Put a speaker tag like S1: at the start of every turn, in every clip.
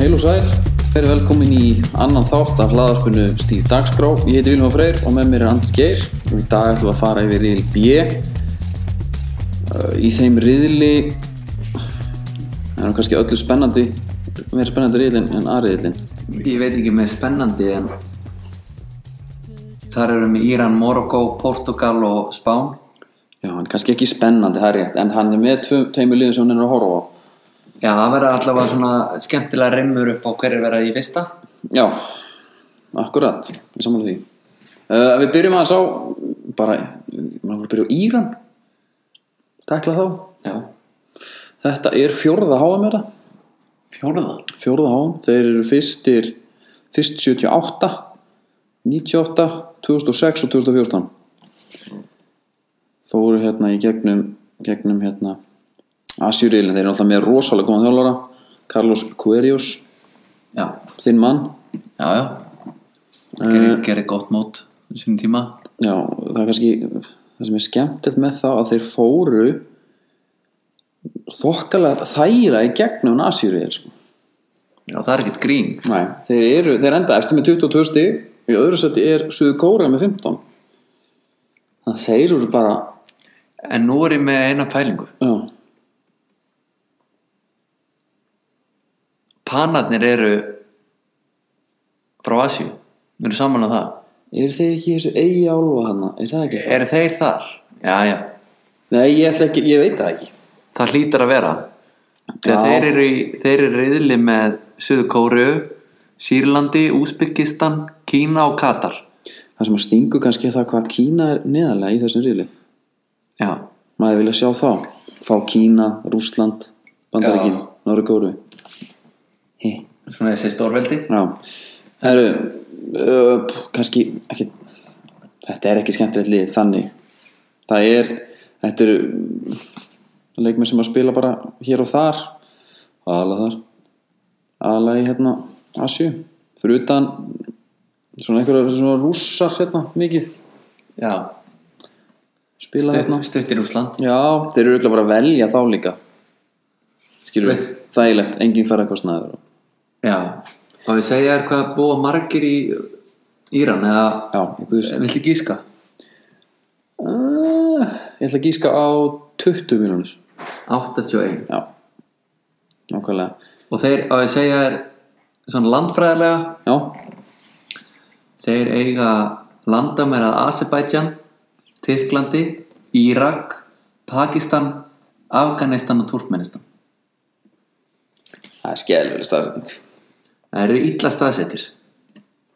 S1: Heil og sæl, þeir eru velkomin í annan þátt af hlaðarpinu Stíf Dagskrá. Ég heiti Vilhelm Freyr og með mér er Andri Geir og í dag ætlum við að fara yfir riðil B. Uh, Í þeim riðli er nú kannski öllu spennandi, meira spennandi riðlin en A-riðlin.
S2: Ég veit ekki með spennandi en þar eru með Íran, Morokó, Portugal og Spán
S1: Já, hann er kannski ekki spennandi, það er rétt, en hann er með tvö- tveimur liðum sem hann er að horfa á.
S2: Já, það verður allavega svona skemmtilega reymur upp á hverju verða í fyrsta
S1: Já, akkurat, ég samanlega því. Uh, við byrjum aðeins á, bara, maður voru að byrja á Íran, takla þá.
S2: Já,
S1: Þetta er fjórða háum þetta
S2: fjóruða
S1: Fjórða háum, þeir eru fyrstir Fyrst 78 98, 2006 og 2014 Fóru hérna í gegnum Gegnum hérna Asjurilin, þeir eru alltaf með rosalega góðan þjálfara Carlos Querios
S2: Já,
S1: Þinn mann
S2: já, já Uh, Gerir, gerir gott mót sínum tíma
S1: Já, það er kannski það sem er skemmtilegt með það að þeir fóru þokkalega þæra í gegnum Asjuril sko
S2: Já, það er ekkert grín
S1: Nei, þeir, eru, þeir enda eftir með 22 stig í öðru seti er Suður Kóra með 15 þannig að þeir eru bara
S2: En nú er ég með eina pælingu
S1: já,
S2: Panarnir eru frá Asju Við erum saman á það
S1: eru þeir ekki í þessu eigi álfa hana, er það ekki?
S2: Eru þeir þar? Já, já,
S1: Nei, ég, ætla ekki, ég veit það ekki
S2: það hlýtar að vera
S1: Já.
S2: þegar þeir eru, í- þeir eru reyðli með Suður Kóru Sýrlandi, Úsbyggistan Kína og Katar
S1: það sem að stingu kannski er það hvað Kína er neðalega í þessum riðli
S2: já,
S1: maður vilja sjá þá, fá Kína, Rússland Bandaríkin,
S2: Já.
S1: Norður Kóru hei
S2: svona þessi stórveldi
S1: Já, herru uh, kannski ekki, þetta er ekki skemmtilegt lið þannig það er, þetta eru mm, leikmenn sem að spila bara hér og þar aðalega þar aðalega í hérna Asju fyrir utan svona einhverja svona rússar hérna mikið
S2: já,
S1: spila
S2: stutt,
S1: hérna
S2: stuttir Úsland
S1: Já, þeir eru auðvitað bara að velja þá líka skilur við,
S2: Veist-
S1: þægilegt engin ferðarkostnaður og-
S2: já, og við segja þér hvað búa margir í Íran eða
S1: Já, ég guðs
S2: viltu gíska?
S1: Uh, ég ætla að gíska á 20 miljónir
S2: 81
S1: Já Nákvæmlega
S2: og þeir, og við segja þér svona landfræðilega
S1: Já,
S2: Þeir eiga landamæri að Azerbaijan, Tyrklandi, Írak, Pakistan, Afganistan og Turkmenistan.
S1: það er skelvileg staðsetning
S2: Það eru illa staðsettir.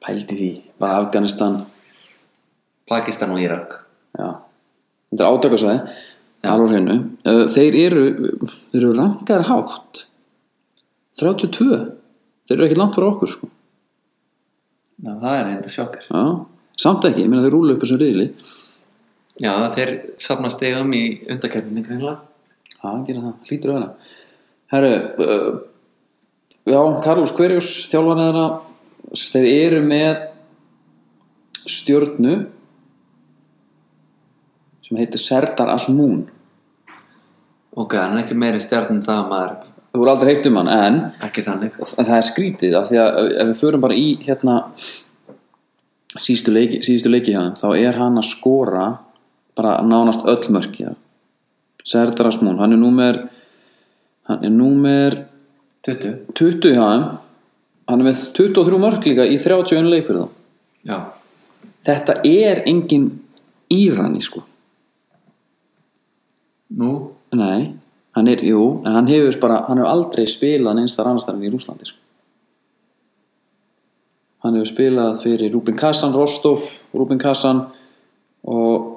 S1: Pældi því, bara Afganistan
S2: Pakistan og Írak.
S1: Já Þetta er átakasvæði Alvar hennu uh, Þeir eru, þeir eru rangar hátt 32 Þeir eru ekki langt frá okkur sko
S2: Já, það er reynda sjokkar.
S1: Já, samt ekki, ég meina þeir rúla upp þessum riðli
S2: Já, þeir safna stegum í undarkerfinni greinlega.
S1: Já, gera það, hlýtur að vera Herru, uh, já, Carlos Querius, þjálfan þeirra þeir eru með stjörnu sem heitir Serdar Asmún
S2: Ok, hann er ekki meiri stjarnum það að maður
S1: Þú voru aldrei heitt um hann, en
S2: ekki þannig.
S1: það er skrítið af því að ef við förum bara í hérna síðustu leiki, síðustu leiki hjá þeim þá er hann að skora bara nánast öll mörk hjá Serdar Asmún, hann er númer hann er númer
S2: Tuttu.
S1: 20 hjá þeim hann er með 23 mörg líka í 31 leik fyrir þá
S2: Já.
S1: þetta er engin Írani sko
S2: Nú?
S1: nei, hann er, jú, en hann hefur bara hann hefur aldrei spilað neins þar annars þar en í Rúslandi sko hann hefur spilað fyrir Rúbin Kassan, Rostov Rúbin Kassan og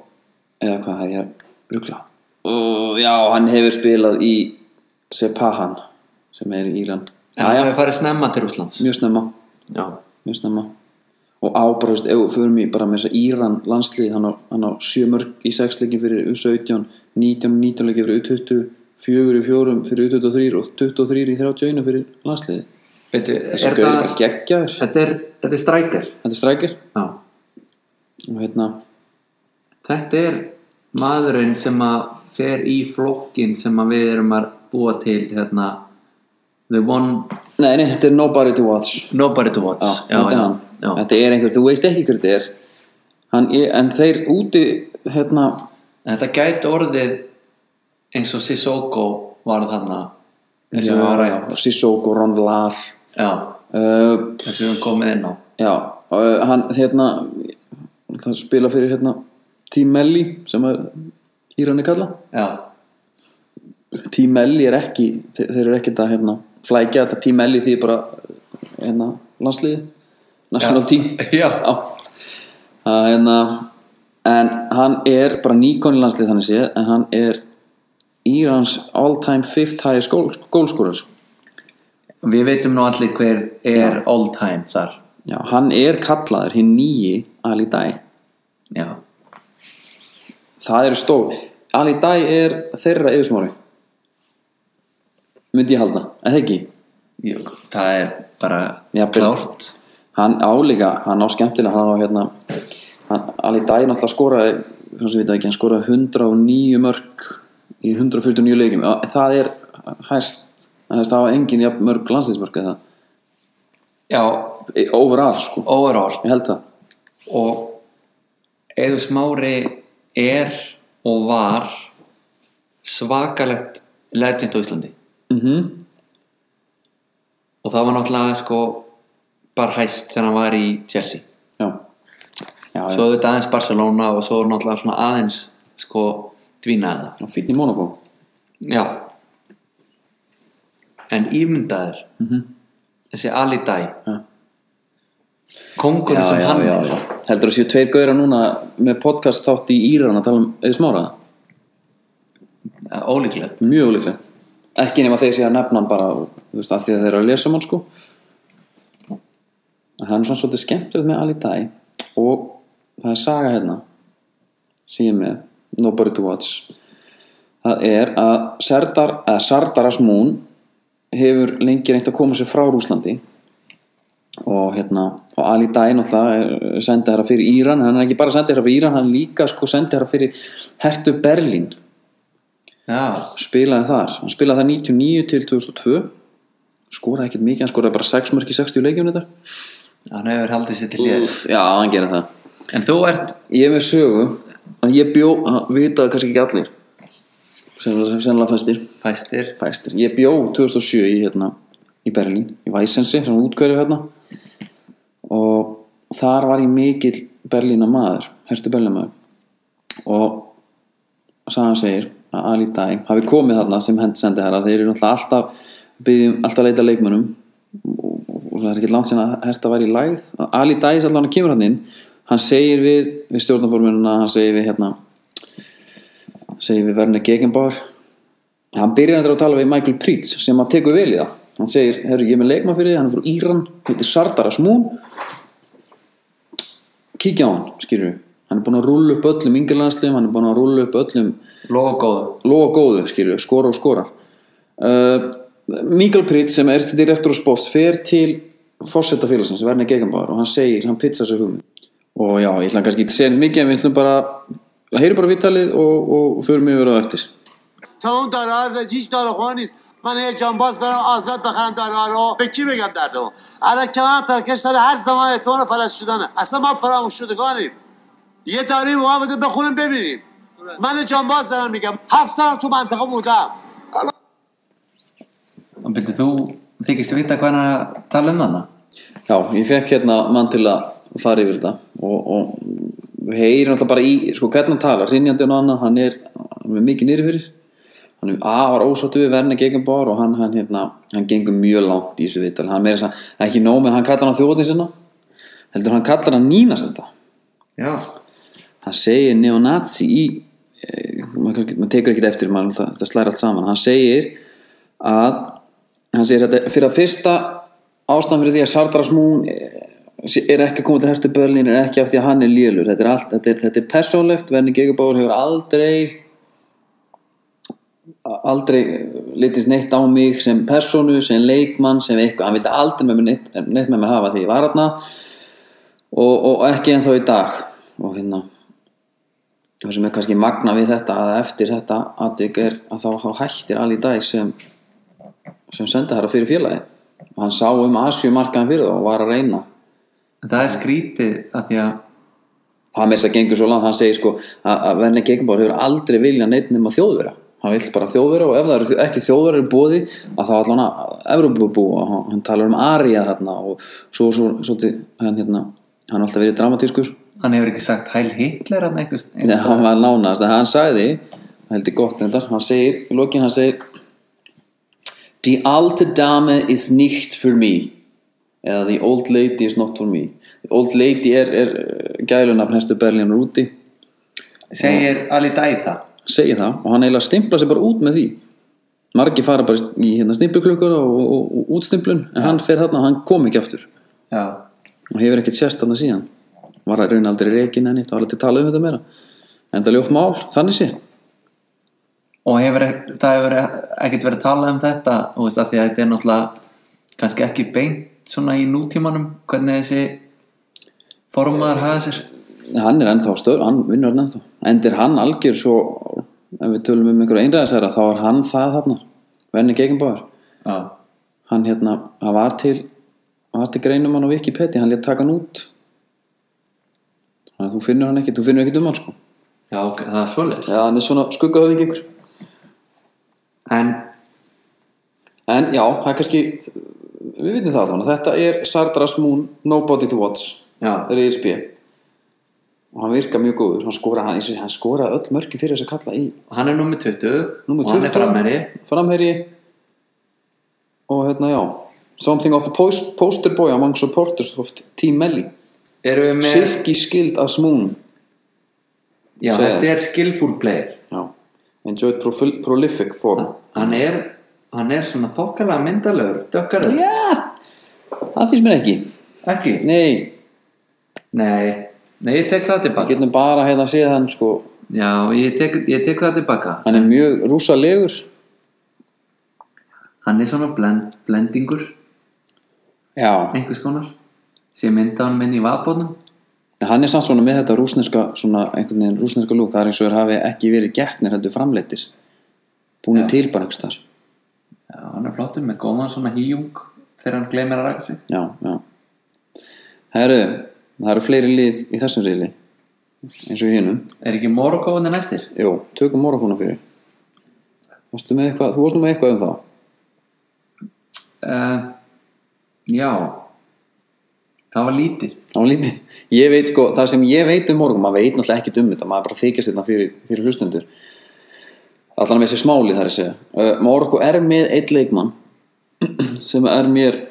S1: eða hvað hef ég rugla og já, hann hefur spilað í Sepahan sem er í Íran
S2: En
S1: Jæja,
S2: hann hefur farið snemma til Úslands.
S1: mjög snemma
S2: Já.
S1: mjög snemma og á bara, veist, ef við förum í bara með þess að Íran landslið, hann á, hann á sjö mörg í sex leikin fyrir U17 19, 19 leikin fyrir U20 fjögur í fjórum fyrir U23 og 23 í 31 fyrir landslið
S2: Veitu,
S1: þessi
S2: er
S1: gauði
S2: það...
S1: bara geggjaður
S2: Þetta er, þetta er strækir.
S1: þetta er strækir
S2: Já.
S1: og hérna,
S2: Þetta er maðurinn sem að fer í flokkin sem að við erum að búa til hérna, the one
S1: Nei, nei, þetta er nobody to watch
S2: Nobody to watch
S1: já, þetta, er hann.
S2: já.
S1: þetta er einhver, þú veist ekki hver þetta er hann, er- en þeir úti hérna,
S2: En Þetta gæti orðið eins og Sissoko var þarna eins og við varum ræðum
S1: Sissoko, Ron Lar
S2: Já,
S1: uh,
S2: eins og við erum komið inn á
S1: já, uh, hann hérna það spila fyrir hérna Team Melli sem er Írani kalla
S2: Já,
S1: Team Melli er ekki, þeir, þeir eru ekkert að hérna, flækja þetta Team Melli því bara hérna, landsliði national team
S2: já,
S1: já Það er hérna en hann er bara nýkon í landslið þannig séð en hann er Írans all time fifth highest goal, goalscorer
S2: Við veitum nú allir hver er all time þar
S1: já, hann er kallaður hinn nýji Ali Dai
S2: Já,
S1: það eru stór Ali Dai er þeirra yfirsmári myndi ég halda en það ekki
S2: Jú, það er bara
S1: Já,
S2: klárt
S1: hann álíka, hann á skemmtilega hann á hérna hann, Ali Dai náttúrulega skoraði hann sem við ekki, hann skoraði 109 mörg í 149 leikum Já, það er hæst það hafa engin jafn mörg landslýsmörk eða
S2: Já,
S1: E- overall sko,
S2: overall
S1: ég held það
S2: og Eður Smári er og var svakalegt legend á Íslandi
S1: mm
S2: og það var náttúrulega sko bara hæst þegar hann var í Chelsea
S1: já, já, já.
S2: svo auðvitað aðeins Barcelona og svo náttúrulega svona aðeins sko dvínaði
S1: Svo... fínn í Monaco
S2: það já en ímyndaður -hmm.
S1: Mhm.
S2: þessi Ali Dai
S1: Ja.
S2: kongurinn sem hann er
S1: heldur þú að séu tveir gauðra núna með podcast þátt í Íran að tala um eða smára
S2: Eh, ólíklegt
S1: mjög ólíklegt ekki nema þeir séu að nefna hann bara og, þú veist, af því að þeir eru að lesa um hann sko en það er svona svolítið skemmtilegt með Ali Dai og það er saga hérna sem ég er með Nobody to Watch það er að Sardar, að Sardar Asmún hefur lengi reynt að koma sér frá Rúslandi og hérna og Ali Dai náttúrulega sendi hérna fyrir Íran hann er ekki bara sendi hérna fyrir Íran hann er líka sko sendi hérna fyrir Hertu Berlín
S2: já,
S1: spilaði þar, hann spilaði þar 99 til 2002 skoraði ekkert mikið, hann skoraði bara 6 mörg í 60 leikjum þetta
S2: hann hefur haldið sér til hér
S1: já, hann gera það
S2: en þú ert
S1: ég er með sögu að ég bjó, að vitaði kannski ekki allir sem sem sennilega fæstir
S2: fæstir
S1: fæstir, ég bjó 2007 í hérna í Berlín, í Væsensi, sem útkverju hérna og þar var ég mikill Berlína maður, herstu Berlína maður og sagan segir að Ali Dæ hafi komið þarna sem hend sendi herra þeir eru náttúrulega alltaf byggjum, alltaf að leita að leikmönnum og, og, og það er ekki langt sem að herta væri í læð Ali Dæ allan hann kemur hann inn hann segir við, við stjórnaformununa hann segir við hérna segir við Werner Gegenbauer hann byrjar endur að tala við Michael Preetz sem að tekur vel í það hann segir, herru, ég er með leikma fyrir þig, hann er frá Íran heitir Sardar Asmún kíkja á hann, skilur við hann er búin að rúlla upp öllum yngirlandsliðum hann er búin að rúlla upp öllum
S2: lofa góðu
S1: lofa góðu, skilur við, skora og skora uh, Mikael Pritt sem er direktur á sport fer til fórsetta félagsins, Verni Gegenbauer og hann segir, hann pizza sér hugum og já, ég ætla kannski ekki að segja neitt mikið en við ætlum bara, heyrum bara vittalið og, og förum yfir á eftir
S3: تمام در هر هیچ در خونه نیست من یه جانباز برم آزاد بخرم در رو به کی بگم دردمو الکی من هم ترکش داره هر زمان اعتماد پرست شدنه اصلا ما فراموش شدگانیم یه داری ما بده بخونیم ببینیم من جانباز دارم میگم هفت سالم تو منطقه بودم
S2: Og byrju, þú þykist vita hvað hann er að tala um hana?
S1: Já, ég fekk hérna mann til að fara yfir þetta og, og við heyrum alltaf bara í, sko hvernig hann talar, rinjandi og annað, hann er, hann er mikið niður fyrir hann er afar ósáttu við verna gegenbár og hann, hann, hérna, hann gengur mjög langt í þessu vital, hann meira þess að ekki nóg með að hann kallar hann þjóðin sinna heldur hann kallar hann nýnast þetta
S2: Já.
S1: hann segir neonazi í eh, maður kann- maður tekur ekkert eftir maður, það, það slæri allt saman, hann segir að hann segir að fyrir að fyrsta ástæðan fyrir því að Sardras Moon eh, er ekki komið til herstu Berlín er ekki af því að hann er lélur þetta er, allt, þetta er, þetta er persónlegt, Verni Gegubáður hefur aldrei aldrei litist neitt á mig sem persónu, sem leikmann sem eitthvað, hann vildi aldrei með mér neitt, neitt með mig hafa því ég var hann og, og ekki ennþá í dag og hérna það sem er kannski magna við þetta að eftir þetta atvik er að þá þá hættir allir dag sem sem senda þeirra fyrir félagi og hann sá um Asju markaðan fyrir þá og var að reyna
S2: En það er skrítið að því að
S1: hann með þess að gengur svo langt, hann segir sko að, að Venni Gegenbár hefur aldrei vilja neitt nema þjóðvera, hann vill bara þjóðvera og ef það eru þjó- ekki þjóðvera í bóði að þá allan að Evrópubú og hann, hann talar um Arja þarna og svo, svo svolítið, hann hérna hann er alltaf verið dramatískur
S2: hann hefur ekki sagt Heil Hitler hann einhvers
S1: Nei,
S2: einhvers
S1: hann
S2: staðar.
S1: var nánast, en hann sagði hann heldur gott þetta, hann segir í lokin hann segir Die alte Dame is nicht für mich eða The old lady is not for me The old lady er, er eh, gælunafn hérstu Berlín úti
S2: segir Ali Dæða
S1: segir það og hann eiginlega stimpla sig bara út með því margi fara bara í hérna stimpluklökkur og, og, og útstimplun en hann fer þarna og hann kom ekki aftur
S2: já,
S1: og hefur ekkert sérst þarna síðan var að raun aldrei reikin enn eitt og var aldrei talað um þetta meira en það ljótt mál, þannig sé
S2: og hefur, ek- það hefur e- ekkert verið að tala um þetta þú veist, að því að þetta er náttúrulega kannski ekki beint svona í nútímanum hvernig þessi formaður hafa sér
S1: hann er ennþá stöður, hann vinnur hann ennþá endir hann algjör svo ef við tölum um einhverja einræðisæra þá var hann það þarna, venni gegenbáður
S2: já,
S1: hann hérna, hann var til var til greinum hann á Wikipedia hann létt taka hann út þannig að þú finnur hann ekki, þú finnur ekki um hann sko
S2: já ok, það er svoleiðis
S1: já, hann er svona skuggaðöfing ykkur
S2: en
S1: en já, það er kannski við vitum það allan, þetta er Sardras Moon Nobody to Watch
S2: já,
S1: RSB og hann virka mjög góður, hann skora hann, eins og hann skora öll mörki fyrir þess að kalla í
S2: hann er nummer 20
S1: Númer
S2: og hann er
S1: 20.
S2: framherri
S1: framherji og hérna já Something of a post, poster boy among supporters of Team Melli
S2: erum við með
S1: Silky skilled as moon
S2: já,
S1: Segðu.
S2: þetta er skillful player
S1: já. Enjoyed profil, prolific form
S2: hann er, hann er svona þokkalega myndalegur dökkar
S1: Já, það finnst mér ekki
S2: ekki,
S1: Nei,
S2: nei nei, ég tek það
S1: við
S2: tilbaka
S1: getum bara hérna að séð hann sko
S2: já, ég tek, ég tek það tilbaka
S1: Hann er mjög rúsalegur
S2: hann er svona blend, blendingur
S1: Já,
S2: einhvers konar sem mynda hann minn í vapónum
S1: en hann er samt svona með þetta rúsneska svona einhvern veginn rúsneska lúk það er eins og þeir hafi ekki verið getnir heldur framleittir búinu til bara einhvers þar
S2: já, hann er flottur með góðan svona híjung þegar hann glemir að raka sig
S1: Já, já Herru, það eru fleiri lið í þessum riðli eins og í hinum
S2: er ekki morgóðan næstir?
S1: Jó, tökum morgunum fyrir Varstu með eitthvað, þú varst nú með eitthvað um það
S2: Uh, já það var lítið
S1: Það var lítið, ég veit sko, það sem ég veit um morgun maður veit náttúrulega ekkert um þetta, maður bara þykist þetta fyrir, fyrir hlustendur allan með þessi smáli þar að segja uh, Morgu er með eitt leikmann sem er mér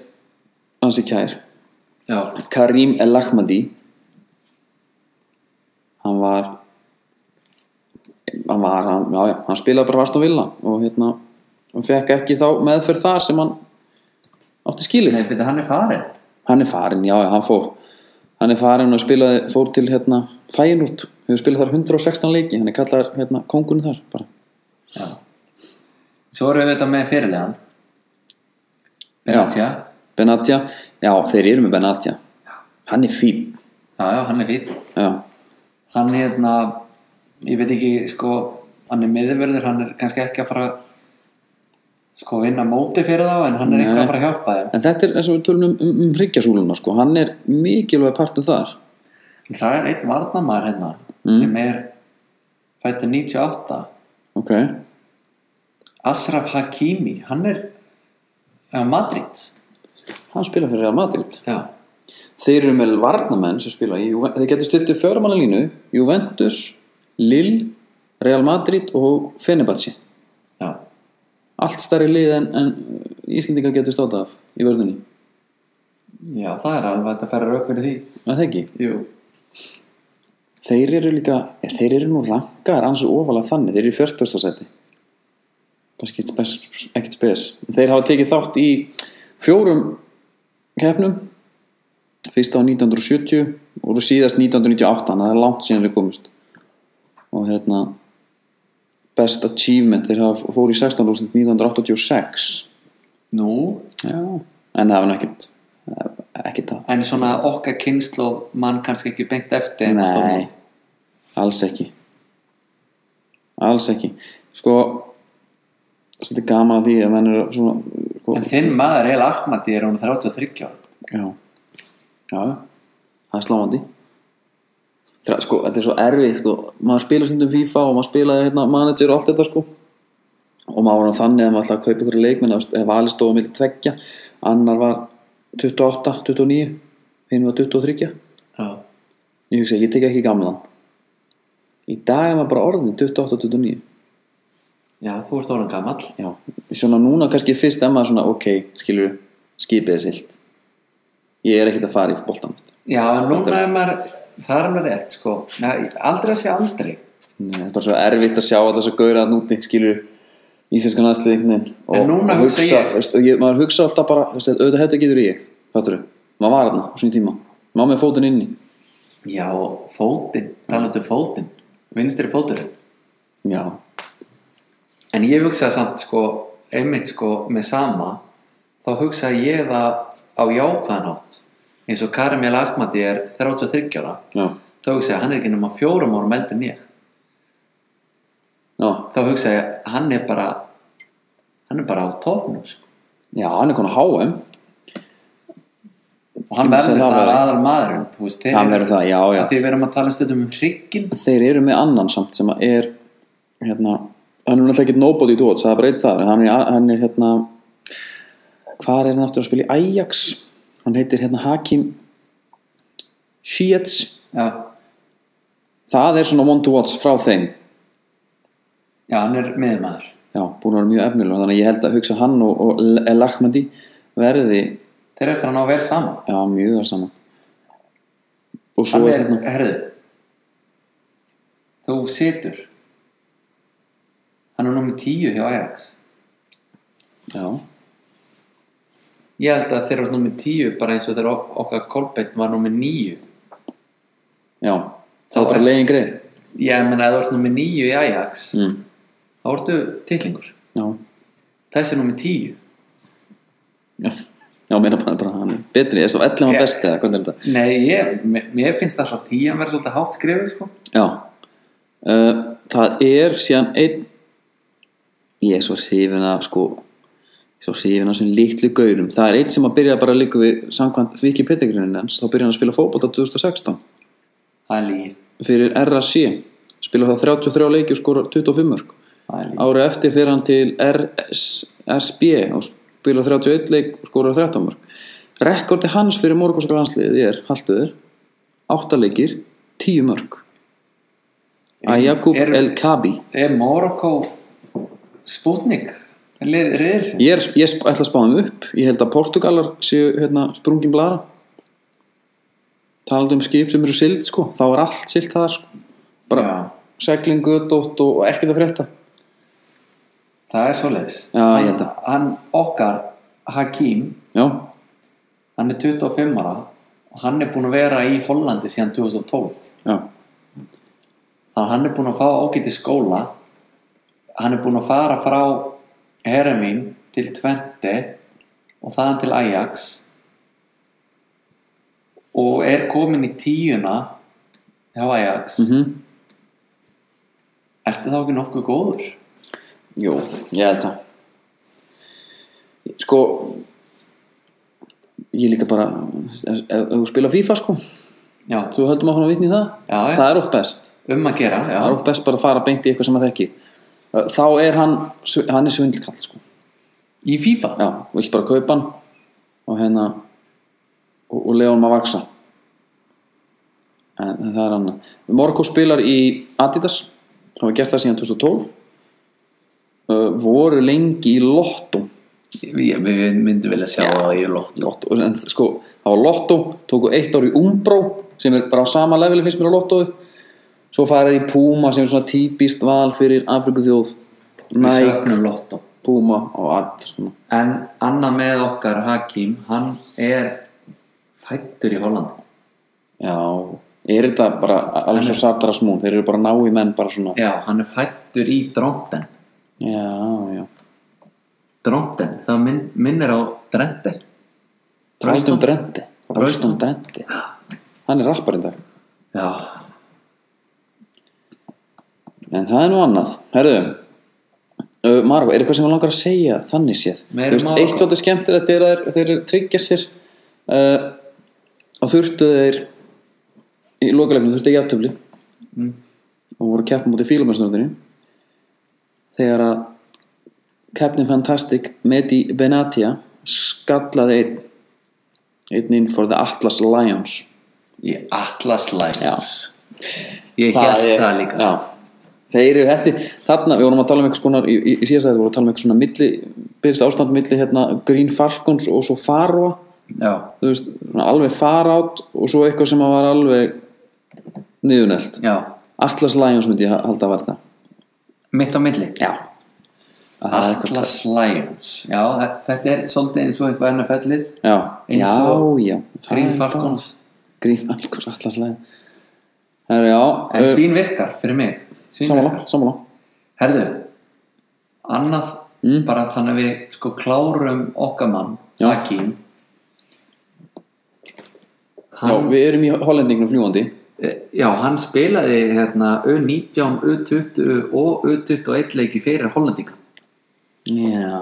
S1: hansi kær
S2: já,
S1: Karim El Ahmadi hann var hann var hann, já, já, hann spilaði bara vast og vilja og hérna hann fekk ekki þá meðferð þar sem hann átti skilið
S2: nei, betur hann er farin
S1: hann er farin, já, já, hann fór hann er farin og spilaði, fór til hérna Fæinút, hefur spilað þar 116 leiki hann er kallar hérna kongun þar bara.
S2: svo erum við þetta með fyrirlegan Benatja já.
S1: Benatja, já, þeir eru með Benatja hann er fín
S2: já, hann er fýtt
S1: já,
S2: hann hérna ég veit ekki sko hann er miðurverður, hann er kannski ekki að fara sko vinna móti fyrir þá en hann er eitthvað að fara að hjálpa þeim
S1: en þetta er eins og við tölum um, um, um hryggjasúluna sko, hann er mikilvæg partur þar
S2: en það er einn varnamaður hérna sem er fættur 98
S1: ok,
S2: Asraf Hakimi hann er á Madrid
S1: hann spila fyrir Real Madrid
S2: já,
S1: þeir eru með varnamenn sem spila í, Juve- þeir getur stilt í fjörumannalínu Juventus, Lille Real Madrid og Fenerbahce
S2: já,
S1: allt starri lið en, en Íslendinga getur státa af í vörðunni
S2: já það er alveg hægt að færa rauk fyrir því
S1: að það ekki,
S2: jú
S1: þeir eru líka eh, þeir eru nú rangar ansu ofalega þannig þeir eru í 40. seti kannski ekkit spes, ekkit spes þeir hafa tekið þátt í fjórum keppnum fyrst á 1970 og eru síðast 1998 þannig að það er langt síðan við komust og hérna best achievement þeir hafa fóru í 16. rúst 1986
S2: nú,
S1: Já. en það var nú ekkit ekkit það
S2: en svona okkar kynslu mann kannski ekki beint eftir þeim að
S1: Nei,
S2: stofna.
S1: alls ekki Alls ekki Sko Svolítið gaman að því að menn eru svona sko, og,
S2: En þinn maður, El Ahmadi, er hún 33 ára.
S1: já. já já. það er sláandi Þegar, sko, þetta er svo erfið sko. maður spila stundum FIFA og maður spila hérna, manager og allt þetta sko. og maður var nú þannig að maður ætlaði að kaupa ykkur leikmenn eða valið stóðum milli tveggja annar var 28, 29 hinn var 23
S2: Já.
S1: ég hugsa ég tek ekki gamlan í dag er maður bara orðin 28, 29
S2: Já, þú ert orðan gamall.
S1: Já, svona núna kannski fyrst er maður svona ok, skilur, skipið er silt ég er ekkert að fara í boltan
S2: Já, en núna er maður, það er maður rétt, sko. Já, aldrei að sé aldrei.
S1: Nei, það er bara svo erfitt að sjá alltaf svo gaura að núti, skilur íslenskan aðsliðingnin
S2: En núna hugsa ég-
S1: ég maður hugsa alltaf bara, veist, auðvitað þetta getur ég fattur maður var þarna á svona tíma maður með fótinn inni
S2: Já, og fótinn, talandu fótinn, vinstri fóturinn.
S1: já,
S2: En ég hugsaði samt, sko, einmitt, sko, með sama, þá hugsaði ég það á jákvæðan átt. Eins og Karim El Ahmadi er 33 ára,
S1: já,
S2: þá hugsaði ég, hann er ekki nema fjórum árum eldri en ég.
S1: já
S2: Þá hugsaði ég, hann er bara, hann er bara á topnum, sko.
S1: já, hann er konar HM
S2: og hann
S1: Ég myndi
S2: verður
S1: segja það
S2: það
S1: væri.
S2: aðal maðurinn þú veist, þeir
S1: Hann
S2: eru-
S1: verður það, já, já.
S2: að því við erum að tala stundum um hrygginn
S1: þeir eru með annan samt sem að er hérna, hann er náttúrulega ekkert nobody to watch, það er bara eitt þar en hann er, hann er hérna hvað er hann aftur að spila í Ajax hann heitir hérna Hakim Shiets
S2: já,
S1: það er svona one to watch frá þeim
S2: já, hann er miðmaður
S1: já, búin að vera mjög efnilega þannig að ég held að hugsa hann og, og El Ahmadi verði,
S2: þeir eru eftir að ná vel saman
S1: já, mjög það saman og svo
S2: hann
S1: er
S2: er,
S1: hérna
S2: herðu þú situr hann er nummer 10 hjá Ajax
S1: já,
S2: ég held að þeir eru nummer 10 bara eins og þeir ok- okkar Kolbeinn var nummer 9
S1: já, það er bara leiðin greið
S2: ég menna að þú ert nummer 9 í Ajax
S1: mm.
S2: þá ertu titlingur
S1: já,
S2: þessi er nummer 10
S1: já já, meina bara, bara hann er betri, þess að 11 var
S2: Ég-
S1: besti eða hvernig er þetta
S2: nei, ég, mér- mér finnst alltaf 10 að vera svolítið hátt skrifið sko
S1: Já uh, Það er síðan einn Ég er svo hrifin af sko svo hrifin af sem litlu gaurum Það er einn sem að byrja bara líka við samkvæmt Viki Pettigrunin hans, þá byrja hann að spila fótbolta 2016
S2: það er lígi
S1: fyrir RAC spila það 33 leiki og skora 25 mörg
S2: Það er líka.
S1: Ári eftir fyrir hann til RSB og spila 31 leik og skora 13 mörg Rekordi hans fyrir morgunska landsliðið er haltuður 8 leikir, 10 mörg að Jakub
S2: Eru-
S1: El Kabi
S2: Er Morocco Sputnik? Reyðilsins?
S1: ég, er, ég sp- ætla að spá þeim upp ég held að Portugalar séu hérna, sprungin blara talandi um skip sem eru sild sko. þá er allt silt þar sko. bara
S2: Já.
S1: segling, gödótt og, og ekkert að frétta
S2: Það er svoleiðis.
S1: Já, ég held
S2: Hann, hann okkar, Hakim,
S1: já,
S2: hann er 25 ára og hann er búin að vera í Hollandi síðan 2012.
S1: já,
S2: Þannig að hann er búin að fá ágæti skóla, hann er búin að fara frá Heremín til Twente og þaðan til Ajax og er komin í tíuna hjá Ajax.
S1: mhm
S2: Ertu þá ekki nokkuð góður?
S1: Jú, ég held það Sko Ég líka bara Ef ef- ef þú spila FIFA sko
S2: Já,
S1: Þú höldum að hana vitni í það
S2: Já, já.
S1: Það er oft best
S2: um að gera, já.
S1: Það er oft best bara að fara beint í eitthvað sem að þekki Þá er hann Hann er svindlkall sko
S2: Í FIFA?
S1: Já, vill bara kaupa hann Og hérna Og, og lega hann að vaksa En en það er hann Morko spilar í Adidas Það var gert það síðan 2012 uh, Voru lengi í Lottum
S2: Við, við myndum vilja sjá það í lott
S1: Lotto, en sko, það var Lotto tóku eitt ár í Umbro sem er bara á sama leveli finnst mér á Lotto svo farið í Puma sem er svona típist val fyrir Afrikuþjóð
S2: Við
S1: Nike,
S2: söknum lottum
S1: Puma og allt sko. svona.
S2: En annað með okkar Hakim, hann er fættur í Holland
S1: já, er þetta bara alveg svo satara smún, þeir eru bara nái menn bara svona, já,
S2: Já, hann er fættur í Dronten
S1: já
S2: Dronten, það minn, minnir á Drente
S1: Rástum Drendi Rástum
S2: Royston.
S1: Drendi hann er rapparinn dag,
S2: Já,
S1: en það er nú annað herðu, uh, Marokko, er eitthvað sem við langar að segja þannig séð
S2: Meira
S1: Þú veist,
S2: Marokkó.
S1: eitt svolítið skemmtilegt er að þeir, þeir eru tryggja sér uh, og þurftu þeir í lokalegnu þurftu ekki aftöfli mm. og voru að keppa mútið fílumestnöndinu þegar að Captain Fantastic Medi Benatia skallaði einn einn inn for the Atlas Lions
S2: Í Atlas Lions Ég held
S1: er-
S2: það líka
S1: já. þeir eru hætti þarna, við vorum að tala um eitthvað skonar í, í, í síðast að við vorum að tala um eitthvað svona milli byrjast ástand milli hérna Green Falcons og svo Faroa
S2: Já,
S1: þú veist, svona alveg far átt og svo eitthvað sem að var alveg niðurnelt
S2: já.
S1: Atlas Lions myndi ég ha- halda að vera það
S2: Mitt á milli
S1: já að það er eitthvað
S2: Atlas Lions Já, þe- þetta er svolítið eins og eitthvað NFL-ið
S1: já,
S2: Eins
S1: já,
S2: og
S1: já það
S2: Green
S1: er
S2: Falcons
S1: bara- Green Falcons, Atlas Lions það er já
S2: En
S1: uh,
S2: svín virkar fyrir mig Svín
S1: samanlá,
S2: virkar
S1: samanlá
S2: Herðu, annað bara þannig að við sko klárum okkar mann,
S1: Mm. Já.
S2: Hakim
S1: já, við erum í hollendingnum fljúandi
S2: Eh, Já, hann spilaði hérna U19, U20 og U21 leiki fyrir Hollendinga
S1: já,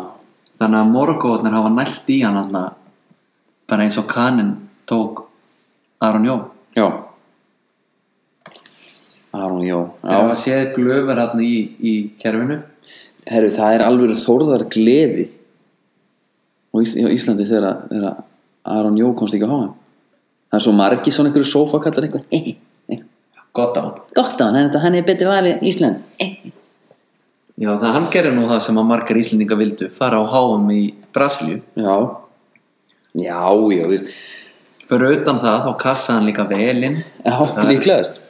S2: þannig að Morgóðnir hafa nælt í hann hann bara eins og kaninn tók Aron Jó
S1: já Aron, já,
S2: þegar
S1: já.
S2: hafa séð glöfur hann í, í kerfinu
S1: Herru, það er alveg þórðar gleði á Ís- á Íslandi þegar, þegar Aron Jó komst ekki á háa það er svo margi svona einhverju sófakallar einhver, eh, eh,
S2: gott á hann
S1: gott á hann, hann er- hann er betur valið en Ísland eh.
S2: Já, það hann gerir nú það sem að margar Íslendinga vildu fara á háum í Brasilju
S1: já já, já, þú veist
S2: fyrir utan það þá kassaði hann líka velinn
S1: já, Eh, líklegast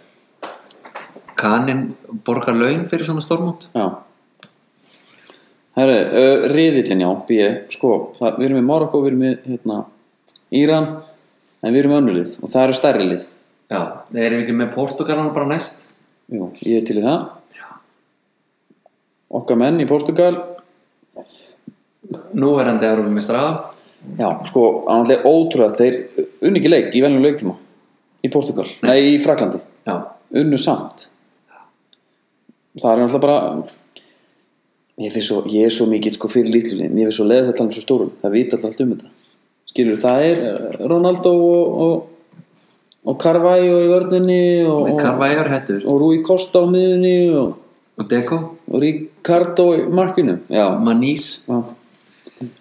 S2: kaninn borgar laun fyrir svona stormót
S1: já herru, uh, riðillin já B, sko, það, við erum með Marokko við erum með, hérna, Íran en við erum önnulið og það eru stærri lið
S2: Já, þeir eru ekki með Portugalana bara næst
S1: Jú, ég er til í það Okkar menn í Portugal
S2: Nú er hann þegar við með strafa
S1: Já, sko, annarlega ótrúlega þeir unni ekki leik í veljum leiktíma í Portugal, nei, í Fraklandi
S2: Já,
S1: unnu samt það er náttúrulega bara ég, finnst svo, ég er svo mikið sko fyrir lítlunni, ég finnst svo leið þetta um svo stórum það vita alltaf allt um þetta skilur það er eh, Ronaldo og, og, og Carvalho í vörninni og,
S2: með
S1: og,
S2: Carvajor hættur
S1: og Rui Costa á miðunni og,
S2: og Deco,
S1: og Ricardo í markinu já,
S2: Manís
S1: já,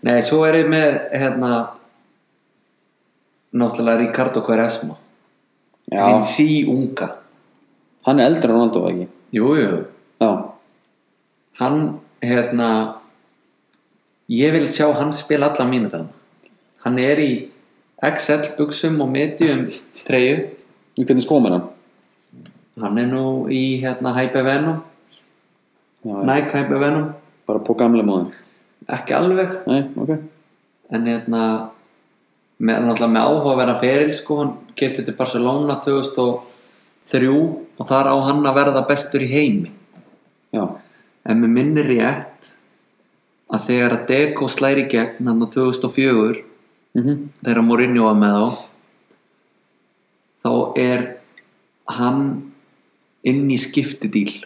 S2: Nei, svo er ég með hérna náttúrulega Ricardo Quaresma
S1: já.
S2: hinn sí unga
S1: hann er eldri en Ronaldo var ekki
S2: Jú, jú,
S1: já,
S2: hann hérna ég vil sjá hann spila alla mínútan hann er í XL buksum og medium treyju
S1: við hvernig skóum er hann
S2: hann er nú í hérna Hypervenum
S1: já, já.
S2: Nike Hypervenum,
S1: bara på gamla móðin
S2: ekki alveg
S1: nei, ok,
S2: en hérna með, náttúrulega með áhugaverðan feril sko, hann getið til Barcelona 2003 og þar á hann að verða bestur í heimi
S1: já
S2: en mér minnir rétt að þegar að Deco slæri gegn hann á 2004
S1: mhm,
S2: þegar Mourinho var með þá þá er hann inn í skiptidíl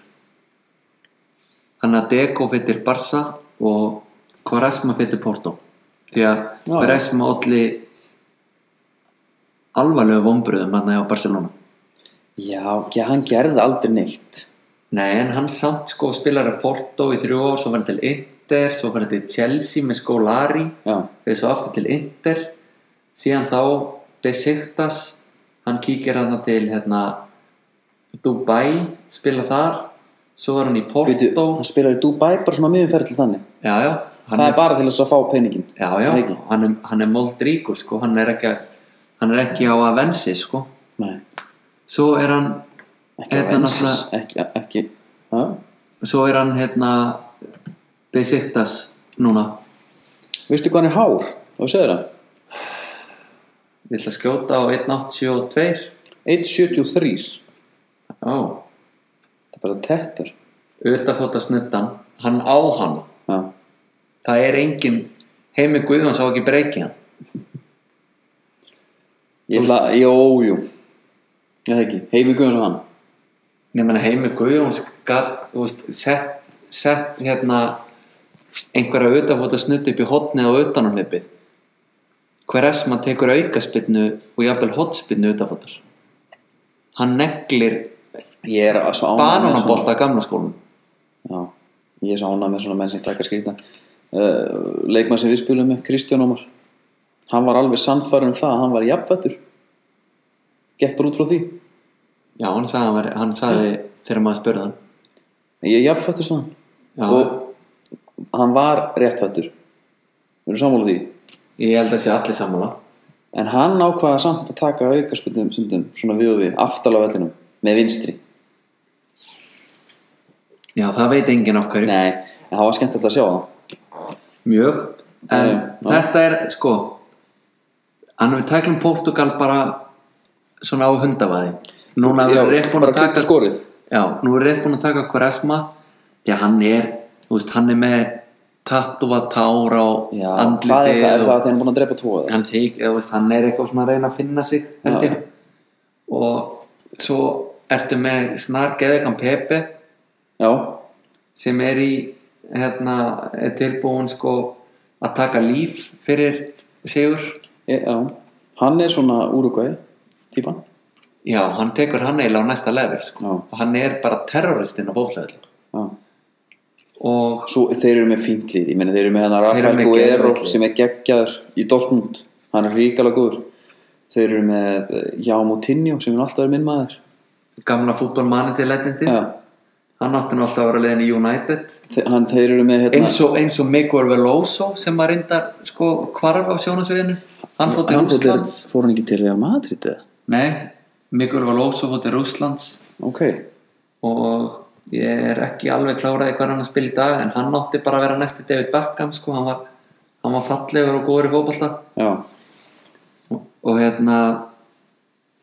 S2: þannig að Deco fyrir Barca og Quaresma fyrir Porto því að
S1: Já.
S2: Quaresma olli alvarlegu vombriðum hann á Barcelona
S1: já, já, hann gerði aldrei neitt
S2: Nei, en hann samt sko spilar að Porto í þrjú ár, svo var hann til Inter svo var hann til Chelsea með Skolari
S1: já,
S2: fyrir svo aftur til Inter síðan þá Besiktas hann kíkir hann til hérna, Dubai spila þar svo var hann í
S1: Byrju,
S2: Porto
S1: hann spilar í Dubai bara svona miðum ferli þannig
S2: já, já, hann
S1: það
S2: er,
S1: er bara til þess að fá peningin
S2: já, já,
S1: Það er ekki.
S2: hann er, hann er moldríkur sko, hann er ekki, hann er ekki á að vensi sko,
S1: nei,
S2: svo er hann
S1: ekki
S2: hérna,
S1: á Vensis
S2: náttúrulega-
S1: ekki, ekki, já,
S2: svo er hann hérna Besiktas núna
S1: veistu hvað hann er hár og segir það,
S2: ég ætla að skjóta á 1.82
S1: 1.73
S2: já,
S1: það er bara tettur
S2: utafóta snuttan hann á hann
S1: já,
S2: það er engin heimi Guðjóns á ekki breyki hann
S1: ég ætla, jó, jú ég það ekki, Heiði Guðjóns og hann
S2: nema heimi Guðjóns gat, þú veist, sett, sett hérna einhverja auðafóta snutt upp í hotnið á auðanumhipið hver esma tekur aukaspinnu og jafnvel hotspinnu auðafótar hann neglir
S1: Ég er að svo ánægð með svona-
S2: bananabolta að gamla skólum
S1: Já, ég er svo ánægð með svona menn sem taka skrýta uh, Leikmann sem við spilum með, Kristján Ómar Hann var alveg sannfærum það að hann var jafnfættur Geppur út frá því
S2: já, hann sagði, hann væri- hann sagði þegar maður spurði hann
S1: Ég er jafnfættur svo hann
S2: já,
S1: Og hann var réttfættur Við erum sammála því
S2: ég held að sé allir sammála
S1: En hann ákvaða samt að taka aukarspundum stundum, svona við og við, aftalega vellinum með vinstri.
S2: já, það veit enginn af hverju
S1: Nei, en það var skemmtilegt að sjá það.
S2: mjög en
S1: Nei, já.
S2: þetta er sko hann við tæklum Portugal bara svona á hundavaði núna
S1: Já,
S2: erum við rétt búin
S1: bara
S2: að taka
S1: klipptu skorið.
S2: já, nú erum við rétt búin að taka Quaresma því að hann er, þú veist, hann er með tattuva tár á
S1: Já, hvað er
S2: andlitið
S1: það? Er
S2: og-
S1: það að þeir eru búin að drepa tvo eða?
S2: hann, þyk, eða, veist, hann er eitthvað svona að reyna að finna sig held
S1: Já.
S2: ég og svo ertu með snar geðekan Pepe
S1: Já,
S2: sem er í hérna, er tilbúin sko að taka líf fyrir sigur
S1: e, já. Hann er svona úrugvæði, típan.
S2: já, hann tekur hann eiginlega á næsta level sko.
S1: Já.
S2: og hann er bara terroristinn á bóflæðil
S1: Já.
S2: og
S1: Svo þeir eru með fínt lið, ég meina þeir eru með hennar
S2: Þeir eru
S1: Rafael
S2: með
S1: Guero
S2: geðveikt lið.
S1: sem er geggjaður í Dortmund. Hann er ríkala góður. Þeir eru með Jámo Tinjó sem er alltaf er minn maður.
S2: gamla fútbolmanager legendi
S1: Já, hann,
S2: hann átti nú alltaf að vera leiðin í United
S1: hann, þeir eru með hérna,
S2: eins og, eins og Mikor Veloso sem að reyndar sko hvarf á sjónasviðinu hann fótt til
S1: hann fór til-
S2: Rússlands
S1: fór hann ekki til Real Madrid eða?
S2: Nei, Mikul Valóso fótt til Rússlands
S1: Ok,
S2: og ég er ekki alveg kláraði hvað hann er að spila í dag en hann átti bara að vera næsti David Beckham sko, hann var, hann var fallegur og góður í fótballta
S1: já,
S2: og, og hérna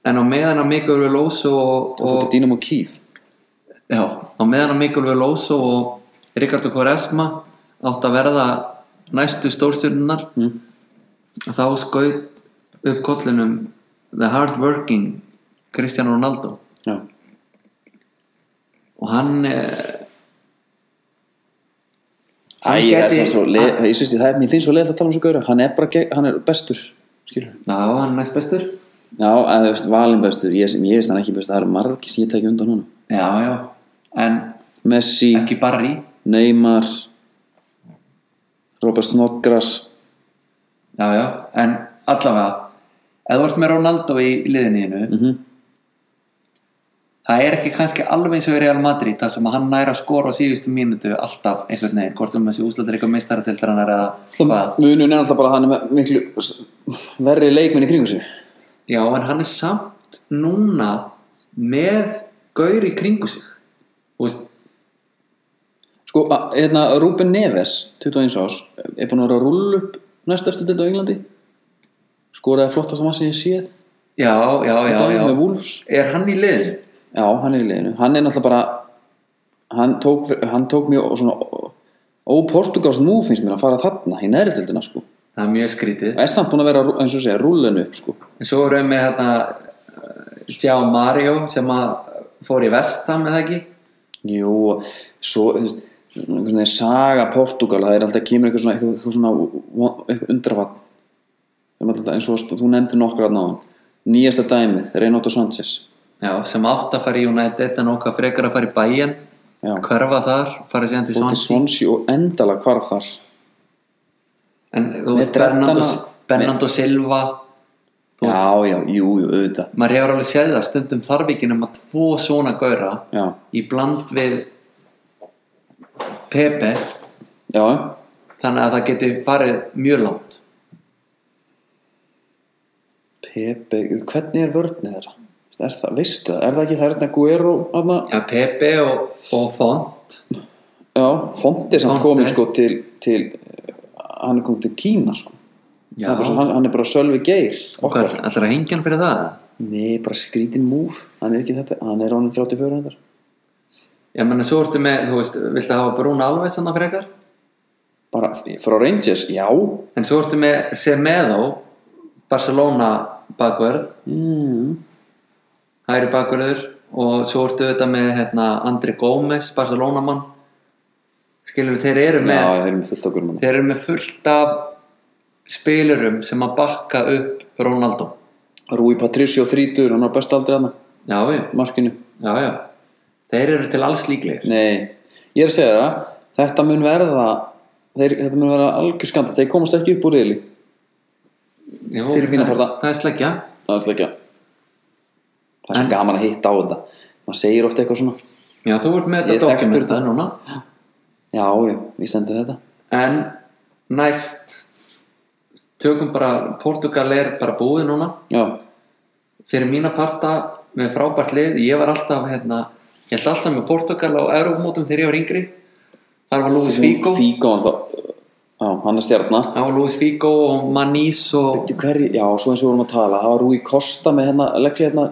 S2: en á meðan að Mikul Valóso og,
S1: og
S2: og
S1: fóttu Dynamo Kiev
S2: já, á meðan að Mikul Valóso og Ricardo Quaresma átti að verða næstu stórstjörnunar
S1: Mm.
S2: þá skaut upp kollinum The Hardworking Cristiano Ronaldo
S1: já,
S2: og hann eh,
S1: Æ,
S2: Hann
S1: ég,
S2: gæti-
S1: gæti, svo, le, ég syns ég, það er mér finnst svo leið að tala um svo gauður hann er bara, ge- hann er bestur skilur
S2: já, hann er næst bestur
S1: já, að þú veist, valin bestur, ég, ég veist hann ekki bestur það eru margir sem ég teki undan honum
S2: já, já, en
S1: Messi,
S2: ekki Barry
S1: Neymar Robert Snodgrass
S2: já, já, en allavega ef þú ert með Ronaldo í liðinu mm
S1: Mhm.
S2: það er ekki kannski alveg eins og í Real Madrid þar sem að hann næra skora á síðustu mínútu alltaf einhvern veginn, hvort sem þessi úslatir eitthvað meistaratildarinnar eða hvað
S1: munun er alltaf bara að hann er með miklu s- verri leikminn í kringu sig
S2: já, en hann er samt núna með gaur í kringu sig þú veist,
S1: sko, a- hérna, Ruben Neves 21 ás, er búin að vera að rúlla upp næstastu dild á Englandi skoraði flottast að maður sem ég séð
S2: já, já, já,
S1: Dæmi
S2: já
S1: með Wolves
S2: er hann í liðinu?
S1: Já, hann er í liðinu Hann er náttúrulega bara Hann tók, hann tók mjög svona óportugálst nú finnst mér að fara þarna í neðri tildina sko
S2: það er mjög skrítið
S1: er samt búin að vera eins og segja rúllinu upp sko
S2: En svo erum við hérna Sjá Mario sem að fór í vestam eða ekki
S1: Jú, og svo þú veist, einhvern veginn saga Portugal það er alltaf kemur eitthvað svona, eitthvað svona von- eitthvað undravatn Það er alltaf eins og þú nefndir nokkra að náðan nýjasta dæmið, Reynaldo Sanchez
S2: Já, sem átt að fara í United en okkar frekar að fara í bæjan
S1: Já,
S2: hverfa þar, fara síðan til
S1: fór til
S2: Svans
S1: Swansea og endala hvarf þar
S2: en þú
S1: Með
S2: veist Bernardo,
S1: dreddana-
S2: Bernardo Silva
S1: Já, já, jú, jú, auðvitað
S2: maður hefur alveg séð það stundum þarf ekki nema tvo svona gaura
S1: Já,
S2: í bland við Pepe
S1: já,
S2: þannig að það geti farið mjög langt
S1: Pepe, hvernig er vörðnið þeirra? Er það, veistu það, er það ekki það er þetta Guero aðna?
S2: Já, Pepe og, og Font
S1: Já, Fonti sem
S2: Fonte.
S1: komið sko til, til eh, hann er komið til Kína sko
S2: Já,
S1: hann er, bara, svo- hann, hann er bara Sölvi Geir
S2: og
S1: okkar,
S2: hvað, ætlar að hengja hann fyrir það? eða?
S1: nei, bara skrítin múf hann er ekki þetta, hann er ánum 34 hundar
S2: Ég menna, svo ertu með, þú veist, viltu hafa Bruno Alves hann frekar?
S1: bara frá Rangers, já
S2: En svo ertu með Semedo, Barcelona bakvörð,
S1: mm.
S2: hæri bakvörður og svo ertu þetta með hérna, Andri Gómez, Barcelona mann skilur þeir eru
S1: já,
S2: með
S1: já, þeir eru með fullt okkur
S2: þeir eru með fullt af spilurum sem að bakka upp Ronaldo
S1: Rúi Patricio þrítur, hann var best aldrei hann
S2: já, já,
S1: markinu,
S2: já, já þeir eru til alls líklegir
S1: nei ég er að segja það, þetta mun verða þeir, þetta mun verða algjör skanda þeir komast ekki upp úr reyli
S2: Jú,
S1: Fyrir mína
S2: það,
S1: parta.
S2: það er sleggja
S1: það er alltaf ekki að- það er svo
S2: En-
S1: gaman að hitta á þetta maður segir ofta eitthvað svona
S2: já, þú ert með
S1: Ég
S2: þetta
S1: þekktur
S2: dokumentað núna
S1: já, já, ég sendi þetta
S2: en næst tökum bara Portugal er bara búið núna
S1: já,
S2: fyrir mína parta með frábært lið ég var alltaf hérna ég held alltaf með Portugal á Európmótum þegar ég var yngri þar var Luis Figo
S1: Fíkó hann þá, já, hann er stjarnar
S2: þar var Luis Figo og Manís og
S1: Veitu hverju, já, svo eins og við vorum að tala það var Rúi Kosta með hérna, leggli hérna